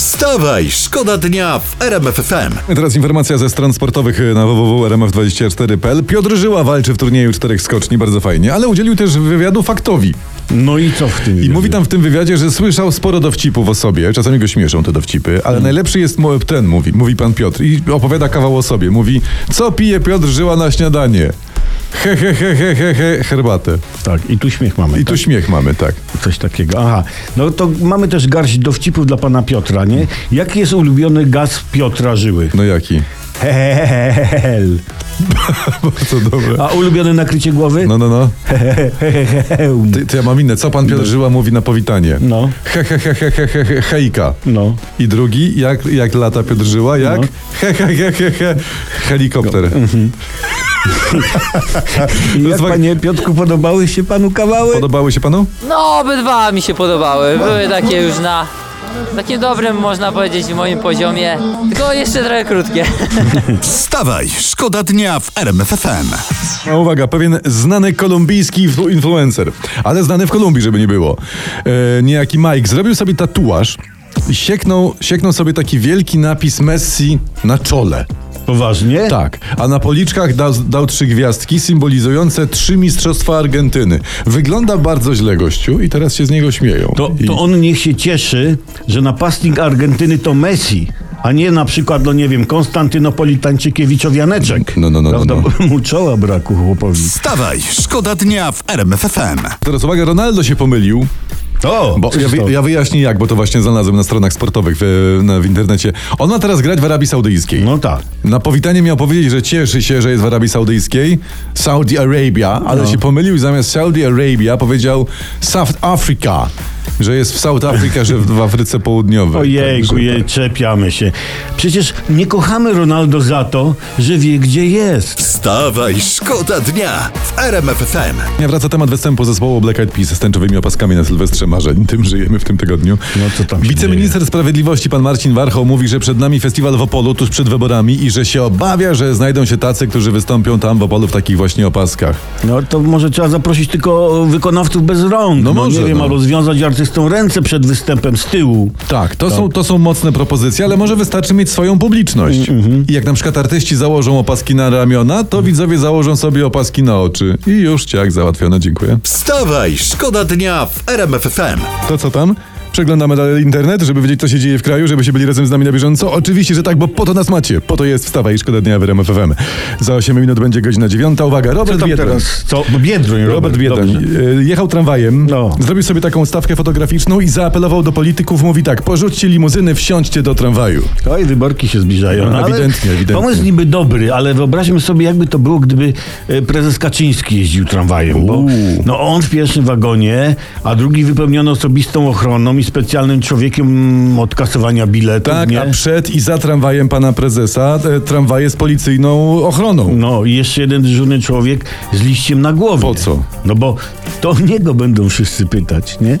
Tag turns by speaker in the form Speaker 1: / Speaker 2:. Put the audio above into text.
Speaker 1: Wstawaj, szkoda dnia w RMF FM.
Speaker 2: Teraz informacja ze stron sportowych na www.rmf24.pl. Piotr Żyła walczy w turnieju czterech skoczni, bardzo fajnie, ale udzielił też wywiadu faktowi.
Speaker 3: No i co w tym?
Speaker 2: I
Speaker 3: wywiadzie?
Speaker 2: mówi tam w tym wywiadzie, że słyszał sporo dowcipów o sobie, czasami go śmieszą te dowcipy, ale najlepszy jest mo- ten, mówi, mówi pan Piotr i opowiada kawał o sobie. Mówi, co pije Piotr Żyła na śniadanie? He, he, he, he, he, he herbatę.
Speaker 3: Tak, i tu śmiech mamy.
Speaker 2: I tu śmiech mamy, tak.
Speaker 3: tak? Coś takiego. Aha, no to mamy też garść dowcipów dla pana Piotra, nie? Jaki jest ulubiony gaz Piotra Żyły?
Speaker 2: No jaki?
Speaker 3: Hehehehel.
Speaker 2: Bardzo dobre.
Speaker 3: A ulubione nakrycie głowy?
Speaker 2: No, no, no.
Speaker 3: Heheheheum.
Speaker 2: Ty, to ja mam inne. Mm. Co pan Piotr Żyła mówi na powitanie?
Speaker 3: No.
Speaker 2: He, he, he, he, he, he, he, hejka.
Speaker 3: No.
Speaker 2: I drugi, jak, jak lata Piotr Żyła, jak?
Speaker 3: No.
Speaker 2: He, he, he, he, he, helikopter.
Speaker 3: I jak
Speaker 2: jest wa-
Speaker 3: panie Piotku, podobały się panu kawały?
Speaker 2: Podobały się panu?
Speaker 4: No, obydwa mi się podobały. Były takie już na takim dobrym, można powiedzieć, moim poziomie. Tylko jeszcze trochę krótkie.
Speaker 1: Wstawaj, szkoda dnia w RMF FM.
Speaker 2: A uwaga, pewien znany kolumbijski influ- influencer, ale znany w Kolumbii, żeby nie było. E, niejaki Mike zrobił sobie tatuaż i sieknął, sieknął sobie taki wielki napis Messi na czole.
Speaker 3: Poważnie?
Speaker 2: Tak, a na policzkach dał, dał trzy gwiazdki symbolizujące trzy mistrzostwa Argentyny. Wygląda bardzo źle gościu i teraz się z niego śmieją.
Speaker 3: To,
Speaker 2: I...
Speaker 3: to on niech się cieszy, że napastnik Argentyny to Messi, a nie na przykład, no nie wiem, Konstantynopolitańczykiewiczów Janeczek.
Speaker 2: No, no, no, no,
Speaker 3: Prawda?
Speaker 2: no.
Speaker 3: Bo Mu czoła braku chłopowi.
Speaker 1: Wstawaj, szkoda dnia w RMF FM.
Speaker 2: Teraz uwaga, Ronaldo się pomylił.
Speaker 3: O,
Speaker 2: Bo ja, wy, ja wyjaśnię jak, bo to właśnie znalazłem na stronach sportowych w, na, w internecie. On ma teraz grać w Arabii Saudyjskiej.
Speaker 3: No tak.
Speaker 2: Na powitanie miał powiedzieć, że cieszy się, że jest w Arabii Saudyjskiej, Saudi Arabia, ale
Speaker 3: No.
Speaker 2: się pomylił i zamiast Saudi Arabia powiedział South Africa, że jest w South Africa, że w, w Afryce Południowej. Tak,
Speaker 3: Ojejku,
Speaker 2: Także-
Speaker 3: jej, czepiamy się. Przecież nie kochamy Ronaldo za to, że wie gdzie jest.
Speaker 1: Wstawaj, szkoda dnia w RMF FM.
Speaker 2: Nie wraca temat występu zespołu Black Eyed Peas z tęczowymi opaskami na Sylwestrze Marzeń. Tym żyjemy w tym tygodniu.
Speaker 3: No, co tam się
Speaker 2: Wiceminister Sprawiedliwości pan Marcin Warchoł mówi, że przed nami festiwal w Opolu tuż przed wyborami i że się obawia, że znajdą się tacy, którzy wystąpią tam w Opolu w takich właśnie opaskach.
Speaker 3: No to może trzeba zaprosić tylko wykonawców bez rąk.
Speaker 2: No może,
Speaker 3: nie wiem,
Speaker 2: no.
Speaker 3: albo związać artystom ręce przed występem z tyłu.
Speaker 2: Tak, to, Są, to są mocne propozycje, ale może wystarczy mieć swoją publiczność. I jak na przykład artyści założą opaski na ramiona, to widzowie założą sobie opaski na oczy. I już ciak załatwione, dziękuję.
Speaker 1: Wstawaj, szkoda dnia w RMF FM.
Speaker 2: To co tam? Przeglądamy dalej internet, żeby wiedzieć, co się dzieje w kraju, żebyście byli razem z nami na bieżąco. Oczywiście, że tak, bo po to nas macie. Po to jest Wstawa i Szkoda Dnia w RMF FM. Za 8 minut będzie godzina 9. Uwaga,
Speaker 3: Co
Speaker 2: Robert
Speaker 3: tam
Speaker 2: Biedroń.
Speaker 3: teraz? Co? Biedroń,
Speaker 2: Robert Biedroń
Speaker 3: Dobrze.
Speaker 2: e, jechał tramwajem,
Speaker 3: No.
Speaker 2: zrobił sobie taką stawkę fotograficzną i zaapelował do polityków, mówi tak, porzućcie limuzyny, wsiądźcie do tramwaju.
Speaker 3: Oj, wyborki się zbliżają.
Speaker 2: No,
Speaker 3: ale
Speaker 2: ewidentnie, ewidentnie.
Speaker 3: Pomysł niby dobry, ale wyobraźmy sobie, jakby to było, gdyby e, prezes Kaczyński jeździł tramwajem. Bo,
Speaker 2: Uuu.
Speaker 3: no on w pierwszym wagonie, a drugi wypełniony osobistą ochroną i specjalnym człowiekiem mm, od kasowania biletów.
Speaker 2: Tak,
Speaker 3: nie?
Speaker 2: a przed i za tramwajem pana prezesa e, tramwaje z policyjną ochroną.
Speaker 3: No i jeszcze jeden dyżurny człowiek z liściem na głowie.
Speaker 2: Po co?
Speaker 3: No bo to o niego będą wszyscy pytać, nie?